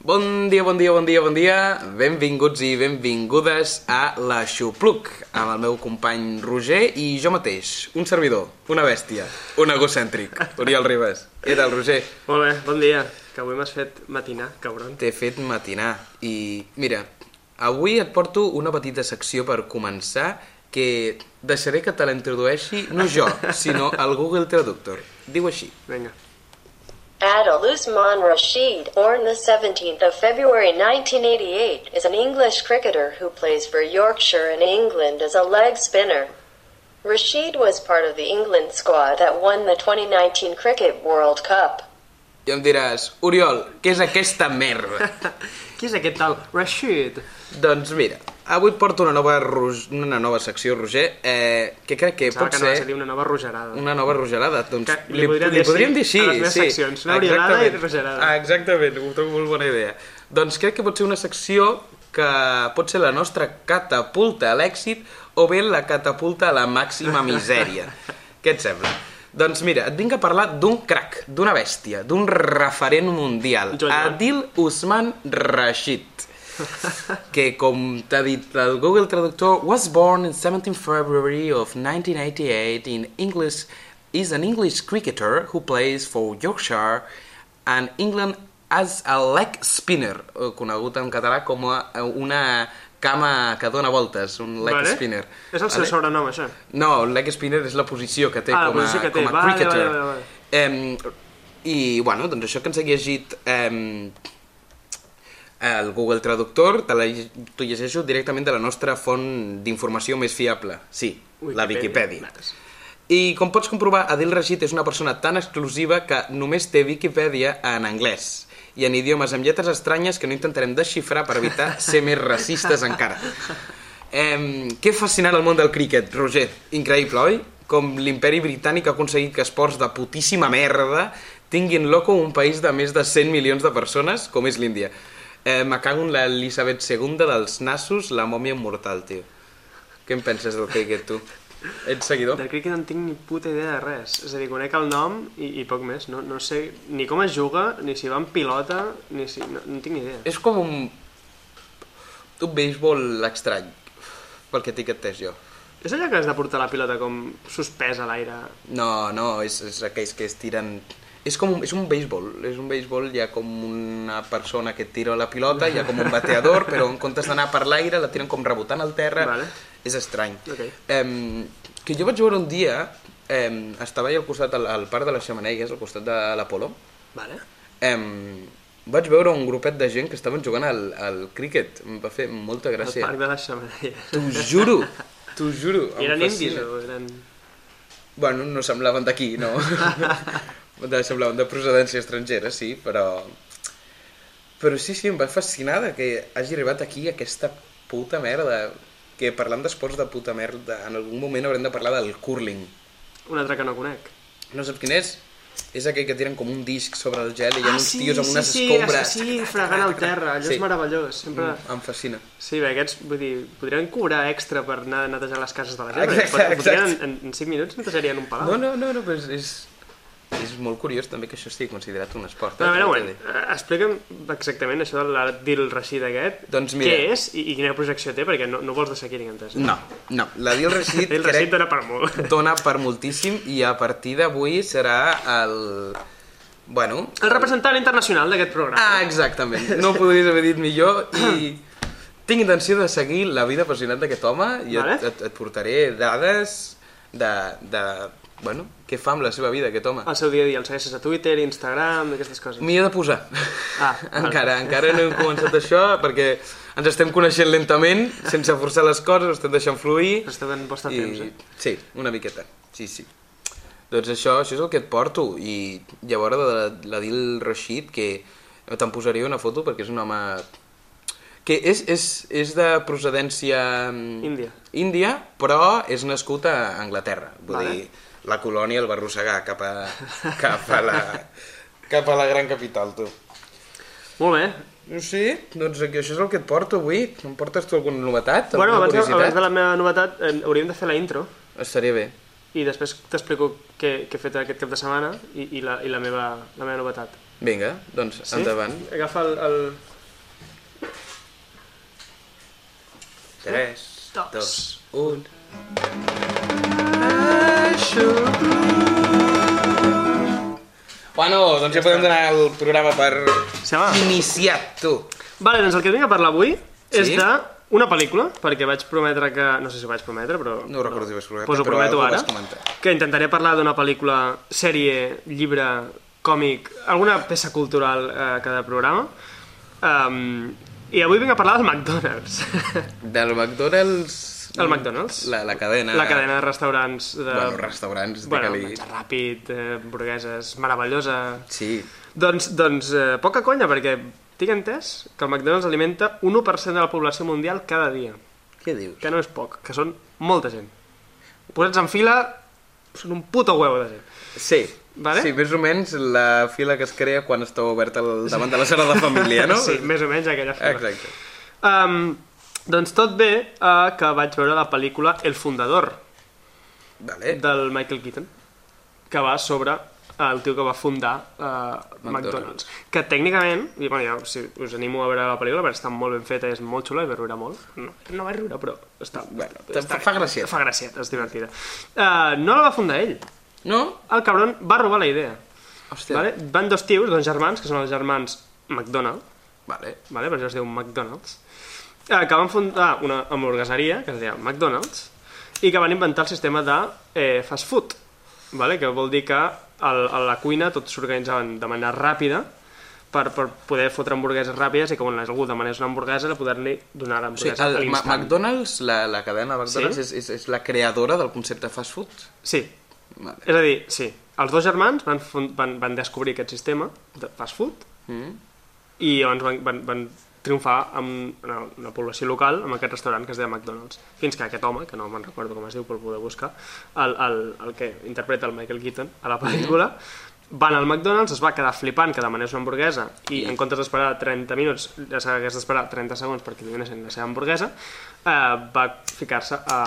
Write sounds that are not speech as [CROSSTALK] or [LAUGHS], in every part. Bon dia, bon dia, bon dia, bon dia. Benvinguts i benvingudes a La Xupluc, amb el meu company Roger i jo mateix, un servidor, una bèstia, un egocèntric, Oriol Ribas. Què tal, Roger? Molt bé, bon dia. Que avui m'has fet matinar, cabron. T'he fet matinar i, mira, avui et porto una petita secció per començar que deixaré que te la introdueixi no jo, sinó el Google Traductor. Diu així. Vinga. [LAUGHS] Adil Usman Rashid, born the 17th of February 1988, is an English cricketer who plays for Yorkshire in England as a leg spinner. Rashid was part of the England squad that won the 2019 Cricket World Cup. I em diràs, Oriol, què és aquesta merda? Qui és aquest tal? Rashid. Doncs mira, avui et porto una nova, ros- una nova secció, Roger, eh, que crec que Pensava pot que ser Mm, anaves a dir una nova rogerada. una nova rogerada. Doncs Que li podríem dir podríem dir així. així a les meves sí. seccions, una oriolada Exactament. i rogerada. Ah, exactament, ho trobo molt bona idea. Doncs crec que pot ser una secció que pot ser la nostra catapulta a l'èxit o bé la catapulta a la màxima [LAUGHS] misèria. Què et sembla? Doncs mira, et vinc a parlar d'un crac, d'una bèstia, d'un referent mundial, Joan Joan. Adil Usman [LAUGHS] Rashid que com t'ha dit el Google Traductor was born in 17 February of 1988 in English is an English cricketer who plays for Yorkshire and England as a leg spinner o conegut en català com a eh, una cama que dona voltes un leg Vale. spinner És el seu sobrenom, això. no, el leg spinner és la posició que té Ah, la com a, posició que té. com a Vale, cricketer. vale, vale, vale. Em, I, bueno, doncs això que ens ha llegit em, el Google Traductor, te la lle- t'ho llegeixo directament de la nostra font d'informació més fiable. Sí, la Viquipèdia. Mates. I com pots comprovar, Adil Rashid és una persona tan exclusiva que només té Viquipèdia en anglès i en idiomes amb lletres estranyes que no intentarem desxifrar per evitar ser més racistes encara. Eh, que fascinant el món del críquet, Roger. Increïble, oi? Com l'imperi britànic ha aconseguit que esports de putíssima merda tinguin loco un país de més de 100 milions de persones, com és l'Índia. Eh, me cago en l'Elisabet II dels nassos, la mòmia immortal, tio. Què en penses del críquet, tu? Ets seguidor? Del cricket no en tinc ni puta idea de res. És a dir, conec el nom i, i poc més. No, no sé ni com es juga, ni si va en pilota, ni si... No, no en tinc ni idea. És com un... un béisbol estrany, pel que etiquetés jo. És allò que has de portar la pilota com suspesa a l'aire. No, no, és, és aquells que es tiren... És com un, és un béisbol, és un béisbol, hi ha com una persona que tira la pilota, hi ha com un bateador, però en comptes d'anar per l'aire la tiren com rebotant al terra. Vale. És estrany. Ok. Em, que jo vaig veure un dia, em, estava allà al costat, al, al parc de les Xamaneies, al costat de l'Apolo, Vale. em, vaig veure un grupet de gent que estaven jugant al, al críquet. Em va fer molta El gràcia. parc de les xamanelles. T'ho juro, t'ho juro. em I eren fascina. indis o eren... Bueno, no semblaven d'aquí, [LAUGHS] no. de, semblaven de procedència estrangera, sí, però... Però sí, sí, em va fascinar de que hagi arribat aquí aquesta puta merda. Que parlant d'esports de puta merda, en algun moment haurem de parlar del curling. Un altre que no conec. No saps quin és? És aquell que tiren com un disc sobre el gel i hi ha Ah, uns sí, tios amb sí, unes sí, escombres. Sí, sí, fregant al terra, allò Sí. Mm. és meravellós. Sempre... Em fascina. Sí, bé, aquests, vull dir, podrien cobrar extra per anar a netejar les cases de la gent. Exacte, Exacte, podrien, exacte. en, en 5 minuts netejarien un palau. No, no, no, no però és, és, és molt curiós també que això estigui considerat un esport. Però, a veure, t'ho he de bueno, eh, explica'm exactament això de l'Adil Rashid aquest. Doncs mira. Què és i, i quina projecció té, perquè no, no vols deixar aquí ningú entès. dir. No, no, la Deal [LAUGHS] Rashid L'Adil Rashid dona per molt. dona per moltíssim i a partir d'avui serà el... Bueno... El representant internacional d'aquest programa. Ah, exactament. No ho podries haver dit millor i tinc intenció de seguir la vida apassionant d'aquest home i Vale. et, et, et portaré dades de, de... Bueno, què fa amb la seva vida aquest home. El seu dia a dia, el segueixes a Twitter, Instagram, aquestes coses. M'hi he de posar. [LAUGHS] Ah, encara, encara no hem començat això perquè ens estem coneixent lentament, sense forçar les coses, ho estem deixant fluir. Però esteu en vostre temps, eh? Sí, una miqueta, sí, sí. Doncs això, això és el que et porto. I llavors de la, la Dil Rashid, que te'n posaré una foto perquè és un home... Que és, és, és de procedència... mm, Índia. Índia, però és nascut a Anglaterra. Vull Vale. dir, la colònia el va arrossegar cap a, cap a, la, cap a la gran capital, tu. Molt bé. No sé, doncs aquí, això és el que et porto avui. Em portes tu alguna novetat? Bueno, alguna abans, de- curiositat? abans de la meva novetat, eh, hauríem de fer la intro. Estaria bé. i després t'explico què, què he fet aquest cap de setmana i, i, la, i la, meva, la meva novetat. Vinga, doncs endavant. Agafa el, el, 3, Dos. 2, 1... Bueno, doncs ja podem donar el programa per Se va. iniciat, tu. Vale, doncs el que vinc a parlar avui és Sí? de una pel·lícula, perquè vaig prometre que... No sé si ho vaig prometre, però... No ho recordo si ho vas prometre, Pues ho però prometo ho ara, vas comentar. que intentaré parlar d'una pel·lícula, sèrie, llibre, còmic, alguna peça cultural eh, a cada programa. Um, I avui vinc a parlar del McDonald's. [LAUGHS] Del McDonald's... El McDonald's? La, la cadena... La cadena de restaurants de... Bueno, restaurants, bueno, digue-li... menjar ràpid, eh, hamburgueses, meravellosa... Sí, Doncs, doncs eh, poca conya, perquè tinc entès que el McDonald's alimenta un 1% de la població mundial cada dia. què dius? Que no és poc, que són molta gent. Posats en fila, són un puto huevo de gent. Sí. Vale? Sí, més o menys la fila que es crea quan està oberta el, davant de la sala de família, no? [LAUGHS] Sí, més o menys aquella fila. Exacte. Um, doncs tot bé eh, que vaig veure la pel·lícula El Fundador, Vale. del Michael Keaton, que va sobre el tio que va fundar eh, McDonald's. McDonald's. Que tècnicament, i bueno, ja, si us animo a veure la pel·lícula, perquè està molt ben feta, és molt xula i va riure molt. No, no va riure, però està... Bueno, està fa bé. gracieta. Fa gracieta, és divertida. Uh, no la va fundar ell. No? El cabron va robar la idea. Hòstia. Vale? Van dos tios, dos germans, que són els germans McDonald, Vale. vale? per això es diu McDonald's, eh, que van fundar una hamburgueseria, que es deia McDonald's, i que van inventar el sistema de eh, fast food, vale? que vol dir que al, a la cuina tots s'organitzaven de manera ràpida per, per poder fotre hamburgueses ràpides i que quan algú demanés una hamburguesa la poder-li donar O sigui, l'hamburguesa el, a Ma- l'instant. McDonald's, la, la cadena de McDonald's, Sí? és, és, és la creadora del concepte fast food? Sí, Vale. és a dir, sí, els dos germans van, fun- van, van descobrir aquest sistema de fast food Mm. i llavors van, van, van triomfar amb una, una població local amb aquest restaurant que es deia McDonald's fins que aquest home, que no me'n recordo com es diu però el podeu buscar el, el, el que interpreta el Michael Keaton a la pel·lícula va anar al McDonald's, es va quedar flipant que demanés una hamburguesa i en comptes d'esperar 30 minuts, ja s'hagués d'esperar 30 segons perquè li donessin la seva hamburguesa eh, va ficar-se a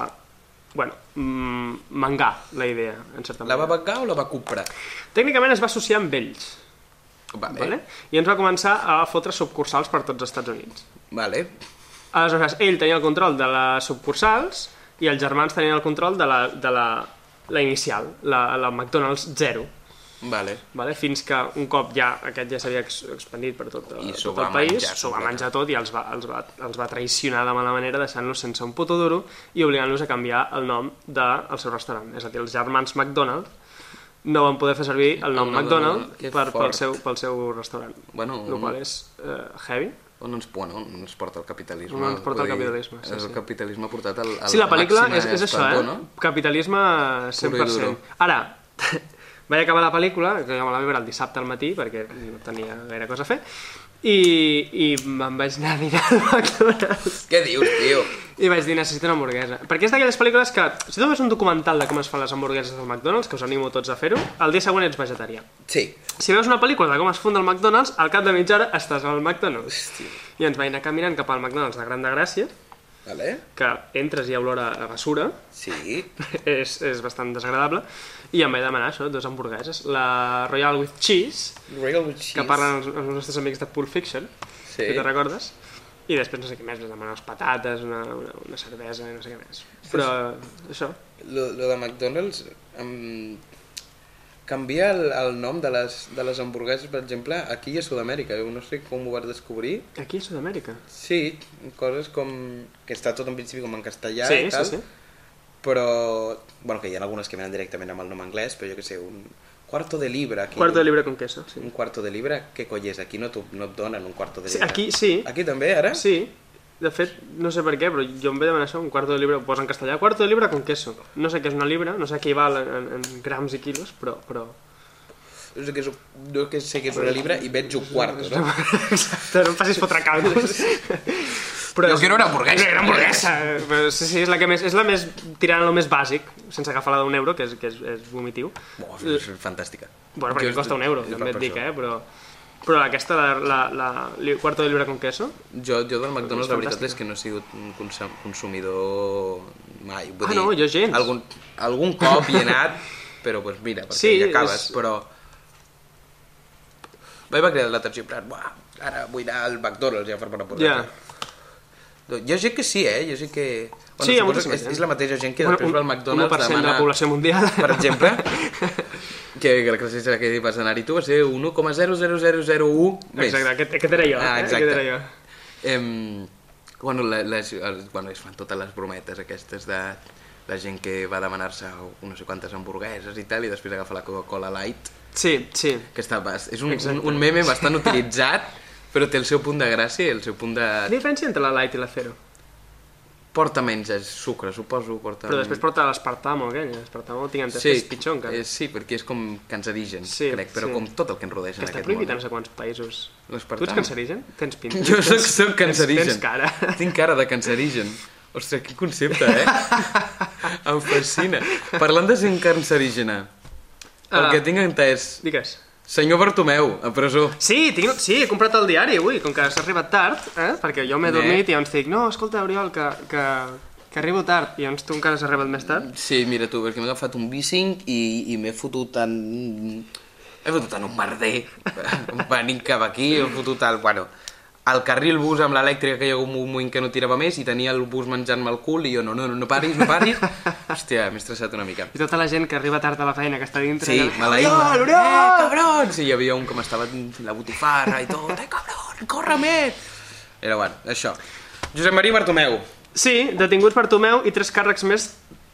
bueno, mm, mangar la idea, en certa La va manera bancar o la va comprar? tècnicament es va associar amb ells Vale. vale? i ens va començar a fotre sucursals per tots els Estats Units Vale. Aleshores, ell tenia el control de les subcursals i els germans tenien el control de la, de la, la inicial, la, la McDonald's Zero. Vale. Vale? Fins que un cop ja aquest ja s'havia ex expandit per tot, I eh, s'ho tot va el país, menjar s'ho va completament. menjar tot i els va, els, va, els va traicionar de mala manera deixant-los sense un puto duro i obligant-los a canviar el nom del de, seu restaurant. És a dir, els germans McDonald no van poder fer servir el nom nom de- McDonald que per, pel, fort. Mm. seu, pel seu restaurant. Bueno, el qual és eh, heavy. On ens, bueno, on ens porta el capitalisme? On ens porta el Vull dir, capitalisme, sí, és sí. El capitalisme portat al, al Sí, la pel·lícula màxima és, és això, eh? esplendor, No? No? Capitalisme Puro i 100%. duro. Ara, [LAUGHS] vaig acabar la pel·lícula, que ja me la vaig veure el dissabte al matí, perquè no tenia gaire cosa a fer, i, i me'n vaig anar a dinar al McDonald's Què dius, tio? i vaig dir, necessito una hamburguesa. Perquè és d'aquelles pel·lícules que, si tu veus un documental de com es fan les hamburgueses del McDonald's, que us animo tots a fer-ho, el dia següent ets vegetarià. Sí. Si veus una pel·lícula de com es funda el McDonald's, al cap de mitja hora estàs al McDonald's. I ens vaig anar caminant cap al McDonald's de Gran de Gràcia, Vale. que entres i hi ha olor a a basura, Sí. [LAUGHS] és, és bastant desagradable i em vaig demanar això, dues hamburgueses la Royal with Cheese Real with cheese. que parlen els, els nostres amics de Pulp Fiction Sí. si te'n recordes i després no sé què més, vaig demanar unes patates una, una, una cervesa i no sé què més però això, Lo, lo de McDonald's... Um, canvia el, el nom de les, de les hamburgueses, per exemple, aquí a Sud-amèrica. Jo no sé com ho vas descobrir. aquí a Sud-amèrica Sí, coses com... que està tot en principi com en castellà sí, i sí, tal. sí Però, bueno, que hi ha algunes que venen directament amb el nom anglès, però jo que sé, un quarto de libra aquí. quarto de llibre con queso sí. Un quarto de libra, què coi és? Aquí no, t'ho- no et donen un quarto de Sí, libra. aquí sí, Aquí també, ara? sí de fet, no sé per què, però jo em vaig demanar això, un quarto de llibre, ho posa en castellà, quarto de llibre con queso. No sé què és una llibre, no sé què hi val en, en, en grams i quilos, però... però... Jo que, sóc- jo que sé que és una libra i veig un quarto, no? Exacte, no em facis fotre caldos. Però Jo quiero una hamburguesa. Una hamburguesa. Però sí, sí, és la, que més, és la més tirant a lo més bàsic, sense agafar la d'un euro, que és, que és, és vomitiu. Oh, és fantàstica. Bueno, perquè Jo- costa un euro, jo també per et dic, això. eh? Però, però aquesta, la, la, la, li- quarto de llibre con queso, Jo, jo del McDonald's, És la veritat fantàstica. és que no he sigut un consum- consumidor mai. Vull Ah, dir, no, jo gens. Algun, algun cop hi he anat, [LAUGHS] però pues mira, perquè Sí, hi acabes, és- però... Vaig va crear l'atenció, en plan, "Buah, ara vull anar al McDonald's ja per una ja... hamburguesa. Jo sé que sí, eh? Jo sé que... Bueno, Sí, hi ha suposo molta que és, gent. és la mateixa gent que Bueno, després un- va al McDonald's 1% de la població mundial. Per [LAUGHS] exemple, que, que la classificació que vas anar-hi tu va ser 1,00001 més. Exacte, aquest, aquest era jo. Ah, eh? exacte. Aquest era jo. Em, bueno, la- les, els, bueno, es fan totes les brometes aquestes de la gent que va demanar-se no sé quantes hamburgueses i tal i després agafa la Coca-Cola Light Sí, sí. que està, bas- és un, un, un meme bastant utilitzat però té el seu punt de gràcia i el seu punt La de... diferència entre la light i la zero. porta menys és sucre, suposo porta... Però després porta l'espartamo, aquell. L'espartamo, tinc entès, que és pitjor encara. eh, sí, perquè és com cancerigen, Sí, crec, però sí. com tot el que ens rodeja Que en està aquest prohibit a món. eh. no sé quants països. L'espartamo. Tu ets cancerigen? Tens pinta. Jo soc, Tens- soc cancerigen. Tens, tens cara. [LAUGHS] Tinc cara de cancerigen. Ostres, quin concepte, eh? em fascina. Parlant de gent cancerígena, el Ah. que tinc entès... Digues. Senyor Bartomeu, a presó. Sí, tinc, sí, he comprat el diari avui, com que s'ha arribat tard, eh? perquè jo m'he Bé. dormit i llavors dic, no, escolta, Oriol, que, que, que arribo tard, i llavors tu encara has arribat més tard. Sí, mira tu, perquè m'he agafat un bicing i, i m'he fotut en... He fotut en un merder [LAUGHS] venint cap aquí, he fotut al... Bueno, al carril bus amb l'elèctrica que hi ha hagut un moment que no tirava més i tenia el bus menjant-me el cul i jo no, no, no, no paris, no [LAUGHS] paris. Hòstia, m'he estressat una mica. I tota la gent que arriba tard a la feina, que està dintre... Sí, que- maleïda. Eh, Oriol, Oriol! cabrons! I hi havia un que m'estava la botifarra i tot. Eh, cabron, corre més! Era bueno, això. Josep Maria Bartomeu. Eh, Sí, detinguts Bartomeu i tres càrrecs més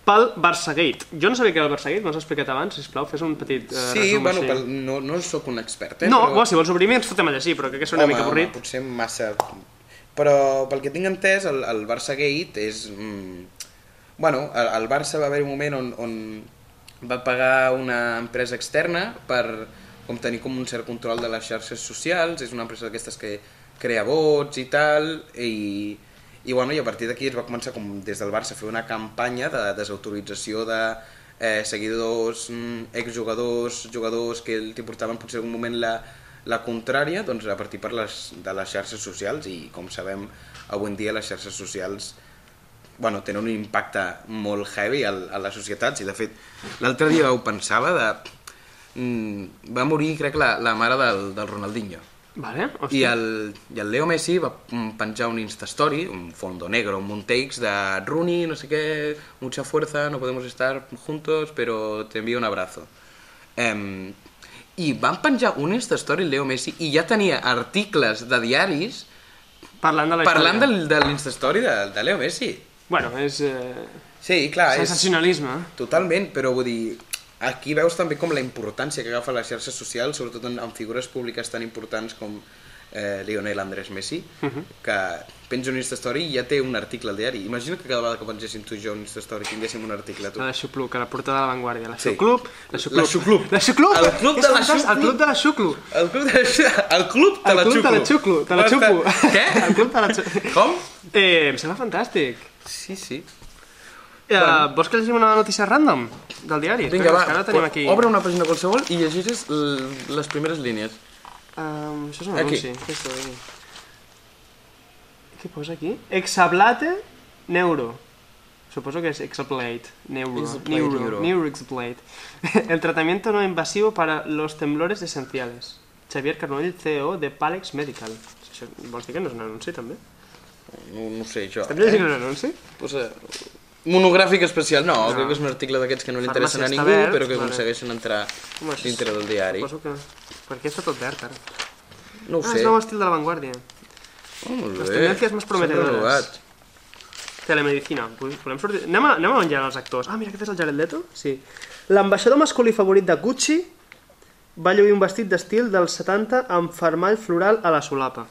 pel Barçagate. Jo no sabia què era el Barçagate, m'ho has explicat abans, sisplau, fes un petit eh, Sí, resum bueno, així. pel, no, no sóc un expert, eh? No, però- bo, si vols obrir-me ens fotem a llegir, però crec que és una Home, Home, mica avorrit. potser massa... Però pel que tinc entès, el, el Barça Gate és... Mm, bueno, el, el Barça va haver un moment on, on va pagar una empresa externa per com tenir com un cert control de les xarxes socials, és una empresa d'aquestes que crea vots i tal, i, i, bueno, i a partir d'aquí es va començar com des del Barça a fer una campanya de desautorització de eh, seguidors, mm, exjugadors, jugadors que li portaven potser en algun moment la, la contrària doncs, a partir per les, de les xarxes socials i com sabem avui en dia les xarxes socials bueno, tenen un impacte molt heavy al, a les societats i de fet l'altre dia ho pensava de... Mm, va morir crec la, la mare del, del Ronaldinho Vale, i hòstia. el, I el Leo Messi va mm, penjar un Instastory, un fondo negro, un montakes de Rooney, no sé qué, mucha fuerza, no podemos estar juntos, pero te envío un abrazo. Em, I van penjar un Instastory el Leo Messi i ja tenia articles de diaris Parlant de la parlant història. del, de l'Instastory de, de Leo Messi. Bueno, és... Eh... Sí, clar, Ah, és... Sensacionalisme. eh? Totalment, però vull dir, aquí veus també com la importància que agafa les xarxes socials, sobretot en, en figures públiques tan importants com eh, Lionel Andrés Messi, uh -huh. Mhm. que penja un Instastory i ja té un article al diari. Imagina que cada vegada que pengéssim tu i jo un Instastory tinguéssim un article tu. La de Xucluc, a la portada de la Vanguardia. La Sí. Xuclup, la Xuclup. La Xuclup. La Xuclup. El club És de la fantàstic, Xuclup. El club de la Xuclu. El club de, el club de El la club de la Xuclu. Xuclu. Te la xupo. [LAUGHS] Què? El club de la Xuclu. Com? Eh, em sembla fantàstic. Sí, sí. Eh, vols que llegim una notícia random del diari? Vinga, Espera, és va, que Ara tenim aquí... obre una pàgina qualsevol i llegeixes l- les primeres línies. Um, això és un Aquí. anunci. Què és això? Què posa aquí? Exablate Neuro. Suposo que es Exablate Neuro. Exablate Neuro. Neuro. Neuro. Exablate. [LAUGHS] El tratamiento no invasivo para los temblores esenciales. Xavier Carnoll, CEO de Palex Medical. Això, vols dir que no és un anunci, també? No, no ho sé, jo. També és un anunci? Posa... eh, Monogràfic especial, no, no, crec que és un article d'aquests que no li Farmàcia interessen a està ningú, verd, però que vale. aconsegueixen entrar Home, és- dintre del diari. Suposo que... Per què està tot verd, ara? No ho Ah, sé. és nou estil de la vanguardia. Oh, molt les bé. tendències més S'han prometedores. renovat. Telemedicina. Pues, volem sortir... Anem a, anem a menjar els actors. Ah, mira, aquest és el Jared Leto? Sí. L'ambaixador masculí favorit de Gucci va lluir un vestit d'estil dels 70 amb fermall floral a la solapa.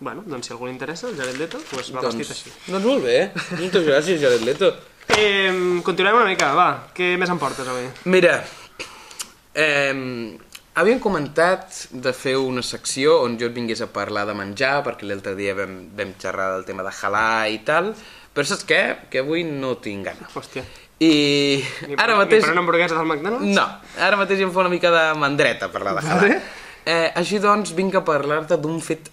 Bueno, doncs si a algú li interessa, el Jared Leto, doncs va vestit Doncs, així. doncs molt bé. Moltes gràcies, Jared Leto. Eh, continuem una mica, va. Què més em portes avui? Mira, eh, havíem comentat de fer una secció on jo et vingués a parlar de menjar, perquè l'altre dia vam, vam xerrar del tema de halal i tal, però saps què? Que avui no tinc gana. Hòstia. I Ni ara per, mateix... Ni per una hamburguesa del McDonald's? Ah, No, ara mateix em fa una mica de mandreta parlar de halal. Vale. Eh, així doncs, vinc a parlar-te d'un fet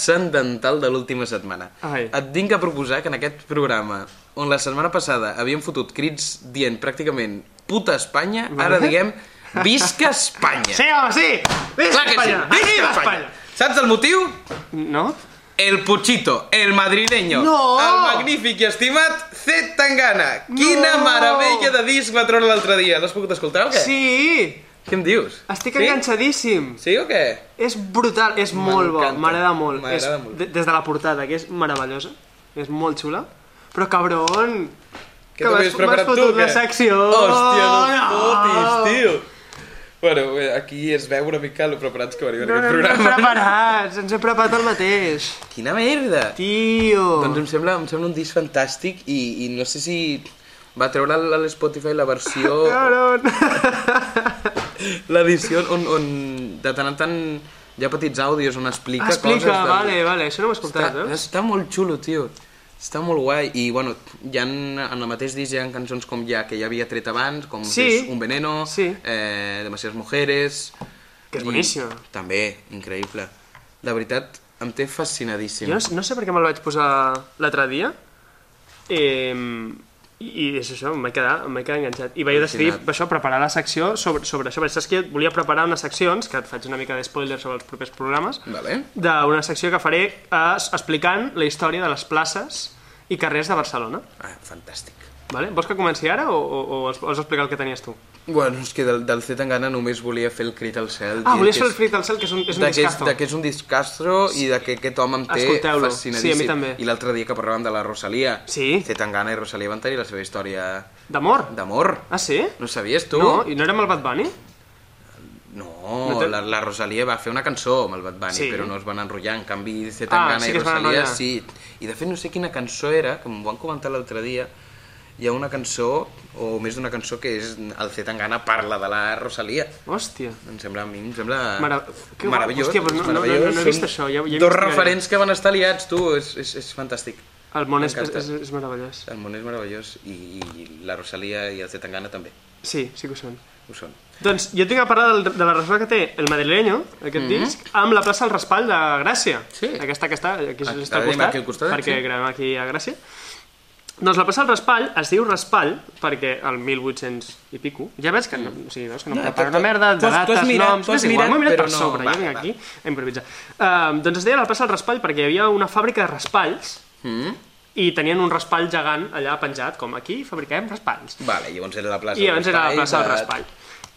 transcendental de l'última setmana. Ai. Et vinc a proposar que en aquest programa, on la setmana passada havíem fotut crits dient pràcticament puta Espanya, ara diguem visca Espanya. Sí, home, sí! Visca Clar que sí, Espanya! visca Viva Espanya. Saps el motiu? No? El Puchito, el madrileño, No! el magnífic i estimat C. Tangana. Quina No! meravella de disc va treure l'altre dia. L'has pogut escoltar o què? Sí! Què em dius? Estic Sí? enganxadíssim. Sí o què? És brutal, és molt bo, M'encanta. m'agrada molt. M'agrada és, molt. de- Des de la portada, que és meravellosa, és molt xula. Però cabrón, Què t'havies m'has- preparat m'has tu? fotut o què? la secció. Hòstia, no fotis, tio. Bueno, bé, aquí es veu una mica lo preparats que venim en No, no, aquest no, programa. preparats, ens hem preparat el mateix. Quina merda! Tio. Doncs em sembla, em sembla un disc fantàstic i, i no sé si va treure a l'Spotify la versió, [LAUGHS] Cabrón. l'edició on, on de tant en tant hi ha petits àudios on explica, coses. Explica, del- vale, vale, això no m'ho he escoltat, Està, eh? està molt xulo, tio. Està molt guai. I, bueno, hi ha, en el mateix disc hi ha cançons com ja que ja havia tret abans, com Sí. és Un veneno, Sí. eh, Demasiades mujeres... Que és i- boníssima. També, increïble. La veritat, em té fascinadíssim. Jo no, no sé per què me'l vaig posar l'altre dia, eh, i, i és això, em vaig quedar, em vaig quedar enganxat. I vaig decidir Fascinat. això, preparar la secció sobre, sobre això. Perquè Saps que volia preparar unes seccions, que et faig una mica de spoiler sobre els propers programes, Vale. d'una secció que faré eh, explicant la història de les places i carrers de Barcelona. Ah, fantàstic. Vale? Vols que comenci ara o, o, o es- vols explicar el que tenies tu? Bueno, és que del, del C. Tangana només volia fer el crit al cel. Ah, dient volies que fer el és- Frit al Cel, que és un, és un de que, és, discazo. de que és un discastro i de que aquest home em té Escolteu-lo. fascinadíssim. Sí, a mi també. I l'altre dia que parlàvem de la Rosalia, Sí. C. Tangana i Rosalia van tenir la seva història D'amor? d'amor. Ah, sí? No sabies, tu? No, i no era amb el Bad Bunny? No, No te- la, la Rosalia va fer una cançó amb el Bad Bunny, Sí. però no es van enrotllar. En canvi, C. Ah, Tangana sí i que es van Rosalia enrotllar. sí. I de fet, no sé quina cançó era, que m'ho van comentar l'altre dia, hi ha una cançó, o més d'una cançó, que és el C. Tangana parla de la Rosalia. Hòstia. Em sembla, a mi em sembla Mara- que guai. meravellós. Hòstia, però no- no- meravellós. no- no he vist Són això, ja- ja dos investigaré. referents que van estar liats, tu, és, és, és fantàstic. El món és, és, M'encanta. és, és meravellós. El món és meravellós i, i la Rosalia i el C. Tangana també Sí, sí que ho són. ho són. Doncs jo tinc a parlar del, de la relació que té el madrileño, aquest mm -hmm. disc, amb la plaça del Raspall de Gràcia. Mhm. Sí. Aquesta que està, aquí Ah, està al tenim costat, aquí al costat, perquè sí. gravem aquí a Gràcia. Doncs la plaça del Raspall es diu Raspall perquè el 1800 i pico... Ja veig que no, o sigui, veus que no, Mm. No, em preparo t'ho- una merda, de t'ho has- t'ho has dates, mirat, noms... t'ho has és igual, mirat, m'ho he mirat però per no, sobre, va, jo vinc va. aquí a improvisar. Uh, doncs es deia la plaça del Raspall perquè hi havia una fàbrica de raspalls Mm? i tenien un raspall gegant allà penjat, com aquí fabriquem raspalls. Vale, llavors era la plaça I llavors era la plaça del Raspall.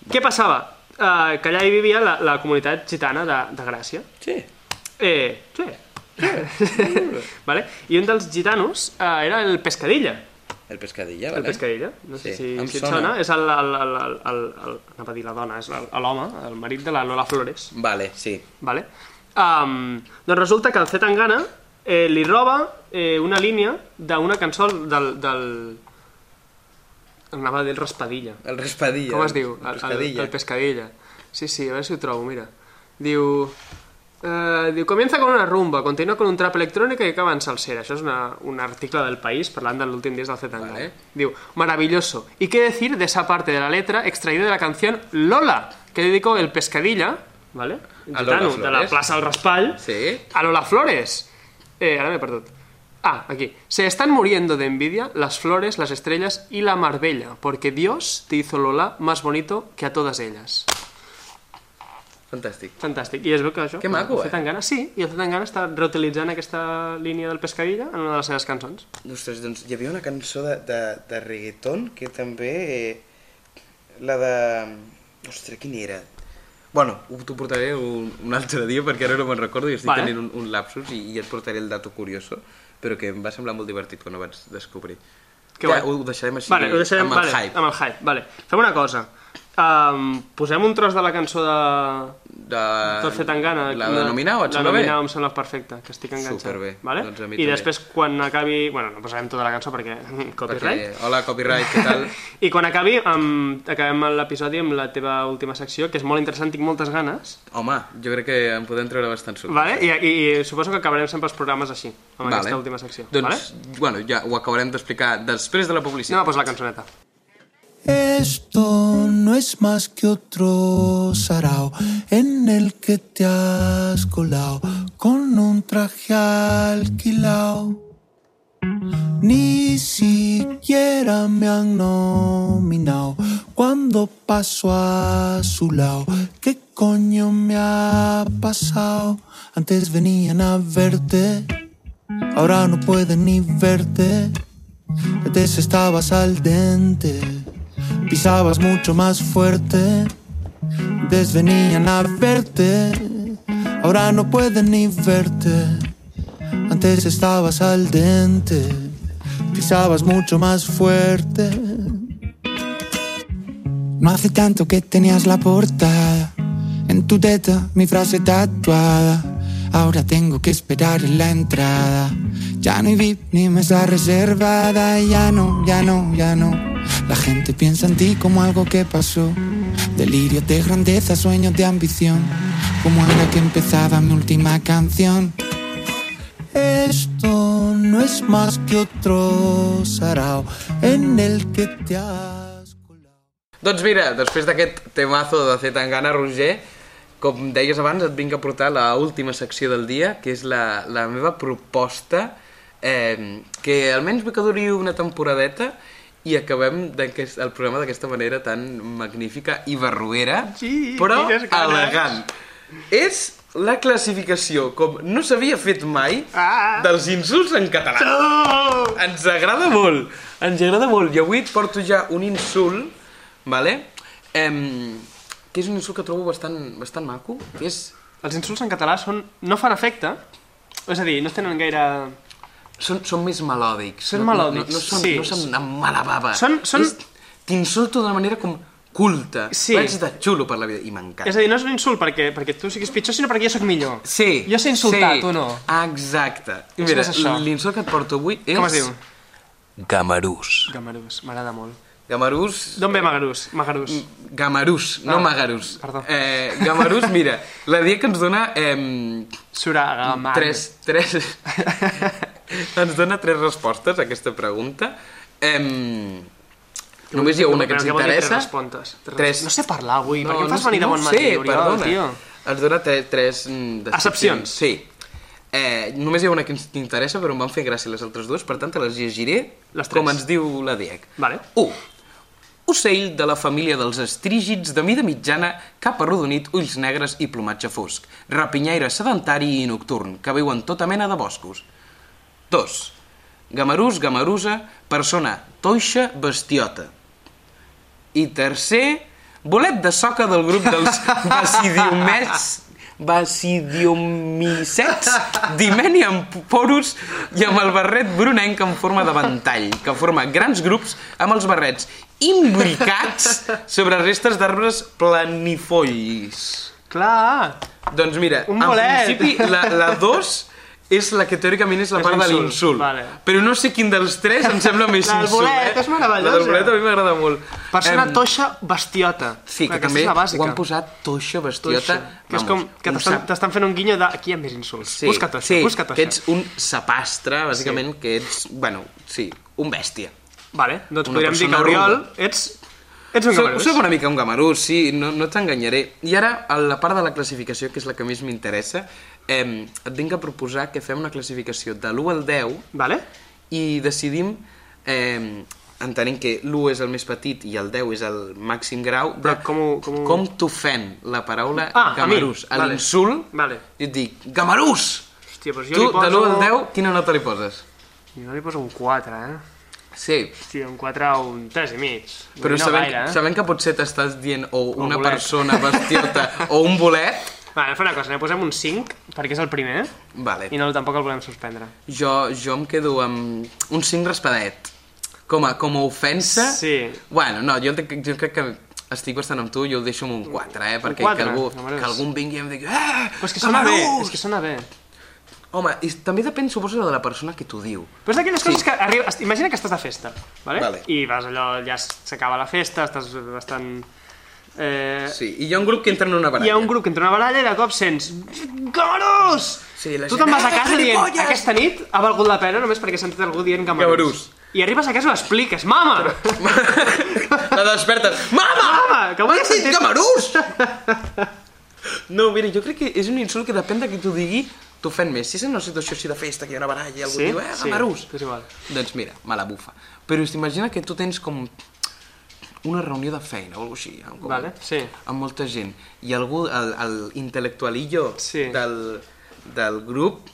Què passava? Eh, que allà hi vivia la, la comunitat gitana de, de Gràcia. Sí. Eh, [LAUGHS] sí. vale? I un dels gitanos eh, era el Pescadilla. El Pescadilla, El vale. Pescadilla, no sé Sí, si, em si et sona. sona. És el, el, el, el, el, el, anava a dir la dona, és el- l'home, el marit de la Lola Flores. Vale, sí. Vale? Um, doncs resulta que el C. Tangana eh, li roba eh, una línia d'una cançó del... del... Anava a dir el Raspadilla. El Raspadilla. Com es diu? El eh, Pescadilla. El, el pescadilla. Sí, sí, a veure si ho trobo, mira. Diu... Uh, diu, comienza con una rumba, continúa con un trap electrónica y acaba en salsera. Això és una, un article del País parlant de l'últim disc del Zetanga. Vale. Diu, maravilloso. ¿Y qué decir de esa parte de la letra extraída de la canción Lola, que dedicó el Pescadilla, ¿vale? A Lola Gitano, de la Flores. plaça al Raspall, Sí. a Lola Flores. Eh, ahora me perdón. Ah, aquí. Se están muriendo de envidia las flores, las estrellas y la marbella, porque Dios te hizo Lola más bonito que a todas ellas. Fantàstic. Fantàstic. I es veu que això... Que maco, el eh? Zetangana, sí, i el Zetangana està reutilitzant aquesta línia del Pescadilla en una de les seves cançons. Ostres, doncs hi havia una cançó de, de, de reggaeton que també... Eh, la de... Ostres, quina era? Bueno, ho- t'ho portaré un, un altre dia perquè ara no me'n recordo i estic Vale. vale. tenint un, un lapsus i, i et portaré el dato curioso però que em va semblar molt divertit quan ho vaig descobrir. Que ja, guai. ho deixarem així, vale, ho deixarem, amb el vale, hype. Amb el hype, vale. Fem una cosa. Um, posem un tros de la cançó de... De... Tot fet en gana. Ah, La denominar o et sembla La bé? denominar em sembla perfecta, que estic enganxat. Superbé. Vale? Doncs a mi I també. després, quan acabi... Bueno, no posarem tota la cançó perquè... [LAUGHS] Copyright. Perquè, hola, copyright, què tal? [LAUGHS] I quan acabi, um, acabem l'episodi amb la teva última secció, que és molt interessant, tinc moltes ganes. Home, jo crec que en podem treure bastant suc. Vale? I, i, I suposo que acabarem sempre els programes així, amb vale. aquesta última secció. Doncs, Vale? vale? bueno, ja ho acabarem d'explicar després de la Anem publicitat. a posar la cançoneta. Esto no es más que otro sarao en el que te has colado con un traje alquilao. Ni siquiera me han nominado cuando paso a su lado. ¿Qué coño me ha pasado? Antes venían a verte, ahora no pueden ni verte. Antes estabas al dente, pisabas mucho más fuerte. Antes venían a verte, ahora no pueden ni verte. Antes estabas al dente, pisabas mucho más fuerte. No hace tanto que tenías la portada En tu teta mi frase tatuada Ahora tengo que esperar en la entrada Ya no hay VIP ni mesa reservada Ya no, ya no, ya no La gente piensa en ti como algo que pasó Delirios de grandeza, sueños de ambición Como ahora que empezaba mi última canción Esto no es más que otro sarao En el que te has colado Doncs mira, després d'aquest temazo de Zetangana, Roger, com deies abans, et vinc a portar la última secció del dia, que és la, la meva proposta, eh, que almenys vull que duri una temporadeta i acabem d'aquest- el programa d'aquesta manera tan magnífica i barruera, Sí, però quines ganes. elegant. És la classificació, com no s'havia fet mai, Ah. dels insults en català. Oh! Ens agrada molt, ens agrada molt. I avui et porto ja un insult, vale? Em, que és un insult que trobo bastant, bastant maco, que és... Els insults en català són... no fan efecte, és a dir, no tenen gaire... Són, són més melòdics. Són no, melòdics, No, no, no, són, sí. no són amb mala bava. Són- són- És- T'insulto d'una manera com culta. Sí. Vaig de xulo per la vida i m'encanta. És a dir, no és un insult perquè, perquè tu siguis pitjor, sinó perquè jo sóc millor. Sí. Jo sé insultar, sí. tu no. Exacte. I És mira, més això. l'insult que et porto avui és... Com es diu? Gamarús. Gamarús, m'agrada molt. Gamarús... D'on ve Magarús? Magarús. Mm. Gamarús, no Ah, Magarús. perdó. Eh, Gamarús, mira, la dia que ens dona eh, Suragamar. tres, tres... [LAUGHS] ens dona tres respostes a aquesta pregunta. Eh, només hi ha una que ens Però què vol dir interessa. Tres respontes. Tres- No sé parlar avui, no, per què em fas venir de bon ho matí, sé, Oriol, perdona. tio? Ens dona tres... tres mm, Excepcions. Sí. Eh, només hi ha una que ens interessa, però em van fer gràcia les altres dues, per tant, te les llegiré Les tres. com ens diu la DIEC. Vale. 1. Ocell de la família dels estrígids de mida mitjana, cap arrodonit, ulls negres i plomatge fosc. Rapinyaire sedentari i nocturn, que viu en tota mena de boscos. 2. Gamarús, gamarusa, persona toixa, bestiota. I tercer, bolet de soca del grup [LAUGHS] dels basidiomets basidiomicets, dimeni amb poros i amb el barret brunenc en forma de ventall, que forma grans grups amb els barrets imbricats sobre restes d'arbres planifollis. Clar! Doncs mira, Un en bolet. principi la, la dos és la que teòricament és la És part de l'insult, l'insult. vale. Però no sé quin dels tres em sembla més La del insult. bolet eh? és meravellosa. La del bolet a mi m'agrada molt. Persona Em, toixa bestiota. Sí, Clar, que aquesta també és la bàsica. ho han posat toixa, bestiota... Toixa. Que és com que un t'estan sap- t'estan fent un guinyo de... Aquí hi ha més insults. Sí, busca toixa, sí, busca toixa. que ets un sapastre, bàsicament, que ets, bueno, sí, un bèstia. Vale, doncs una podríem dir que persona Oriol, ruda. ets... Ets un Soc, gamarús. soc una mica un gamarús, sí, no, no t'enganyaré. I ara, a la part de la classificació, que és la que més m'interessa, eh, et vinc a proposar que fem una classificació de l'1 al 10 Vale? i decidim, eh, entenent que l'1 és el més petit i el 10 és el màxim grau, de Però com ho- com ho- com t'ofèn la paraula Ah, a gamarús. mi, vale. L'insult, Vale. jo et dic, gamarús! Hòstia, doncs jo Tu, li poso... de l'1 al 10, quina nota li poses? Jo li poso un 4, eh? Sí, Hòstia, un 4 o un 3 i mig. Vull però dir, no sabent, gaire, eh? sabent que potser t'estàs dient o una bolet. persona [LAUGHS] bestiota o un bolet, Vale, fa una cosa, ne posem un 5, perquè és el primer, eh? vale. i no, tampoc el volem suspendre. Jo, jo em quedo amb un 5 raspadet. Com a, com a ofensa... Sí. Bueno, no, jo, entenc- jo crec que estic bastant amb tu, jo ho deixo amb un 4, eh? Perquè quatre, que, algú, no mereix. que algú em vingui i em digui... Eh, Però és que sona bé, és que sona bé. Home, i també depèn, suposo, de la persona que t'ho diu. Però és d'aquelles Sí. coses que arriba... Imagina que estàs de festa, vale? Vale. I vas allò, ja s- s'acaba la festa, estàs bastant... Eh, Sí, i hi ha un grup que entra en una baralla. Hi ha un grup que entra a una baralla i de cop sents... Gamarús! Sí, la tu gent, te'n vas a "Eh, casa dient, gilipolles!" aquesta nit ha valgut la pena només perquè he sentit algú dient gamarús. Gamarús. I arribes a casa i ho expliques, mama! La despertes. Mama! Mama, que avui M'han dit sentit- camarús! [LAUGHS] No, mira, jo crec que és un insult que depèn de qui t'ho digui, t'ofèn més. Si és en una situació així de festa, que hi ha una baralla i algú diu, eh, camarús! és igual. Doncs mira, me la bufa. Però imagina que tu tens com una reunió de feina o alguna cosa així, amb, com, Vale, sí. amb molta gent, i algú, el, el intel·lectualillo Sí. del, del grup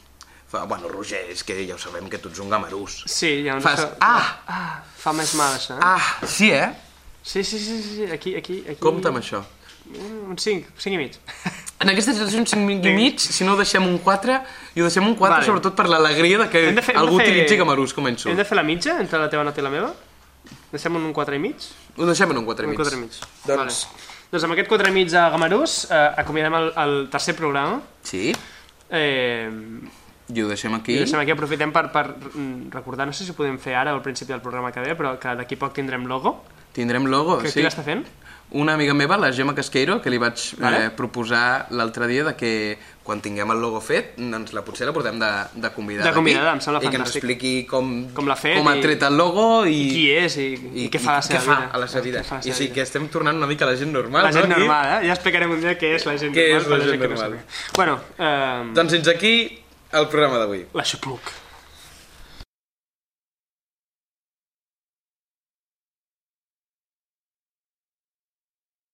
fa, bueno, Roger, és que ja ho sabem que tu ets un gamarús. Sí, ja ens... Fas, fa- ah! ah! Fa més mal, això, eh? Ah, sí, eh? Sí, sí, sí, sí, sí, aquí, aquí, aquí... Compte amb això. Un 5, 5 i mig. En aquesta situació un 5 i mig, si no deixem un 4, i ho deixem un 4 Vale. vale. sobretot per l'alegria de que Hem de fer- hem algú de fer- utilitzi gamarús com a Hem insult. de fer la mitja entre la teva nota i la meva? Deixem un 4 i mig? Ho deixem en un 4 i Un mig. 4 i mig. Doncs- Vale. Doncs amb aquest 4 i mig a Gamarús eh, acomiadem el, el tercer programa. Sí, Eh, i ho deixem aquí. I deixem aquí, aprofitem per, per mm, recordar, no sé si ho podem fer ara al principi del programa que ve, però que d'aquí poc tindrem logo. Tindrem logo, Que Doncs sí. sí. qui l'està fent? Una amiga meva, la Gemma Casqueiro, que li vaig Vale. eh, proposar l'altre dia de que quan tinguem el logo fet, doncs la, potser la portem de, de convidada. De convidada, aquí, em sembla I que ens fantàstic. expliqui com, Com l'ha fet com ha i- tret el logo i, I, qui és i, i, i què fa a la seva què fa vida. a la seva vida. Què fa a la I seva sí, vida. que estem tornant una mica a la gent normal. La gent no, aquí? normal, eh? Ja explicarem un dia què és la gent Què és normal. la per gent gent que no normal? sàpiga. Bueno, eh, Doncs fins aquí el programa d'avui. la xupluc.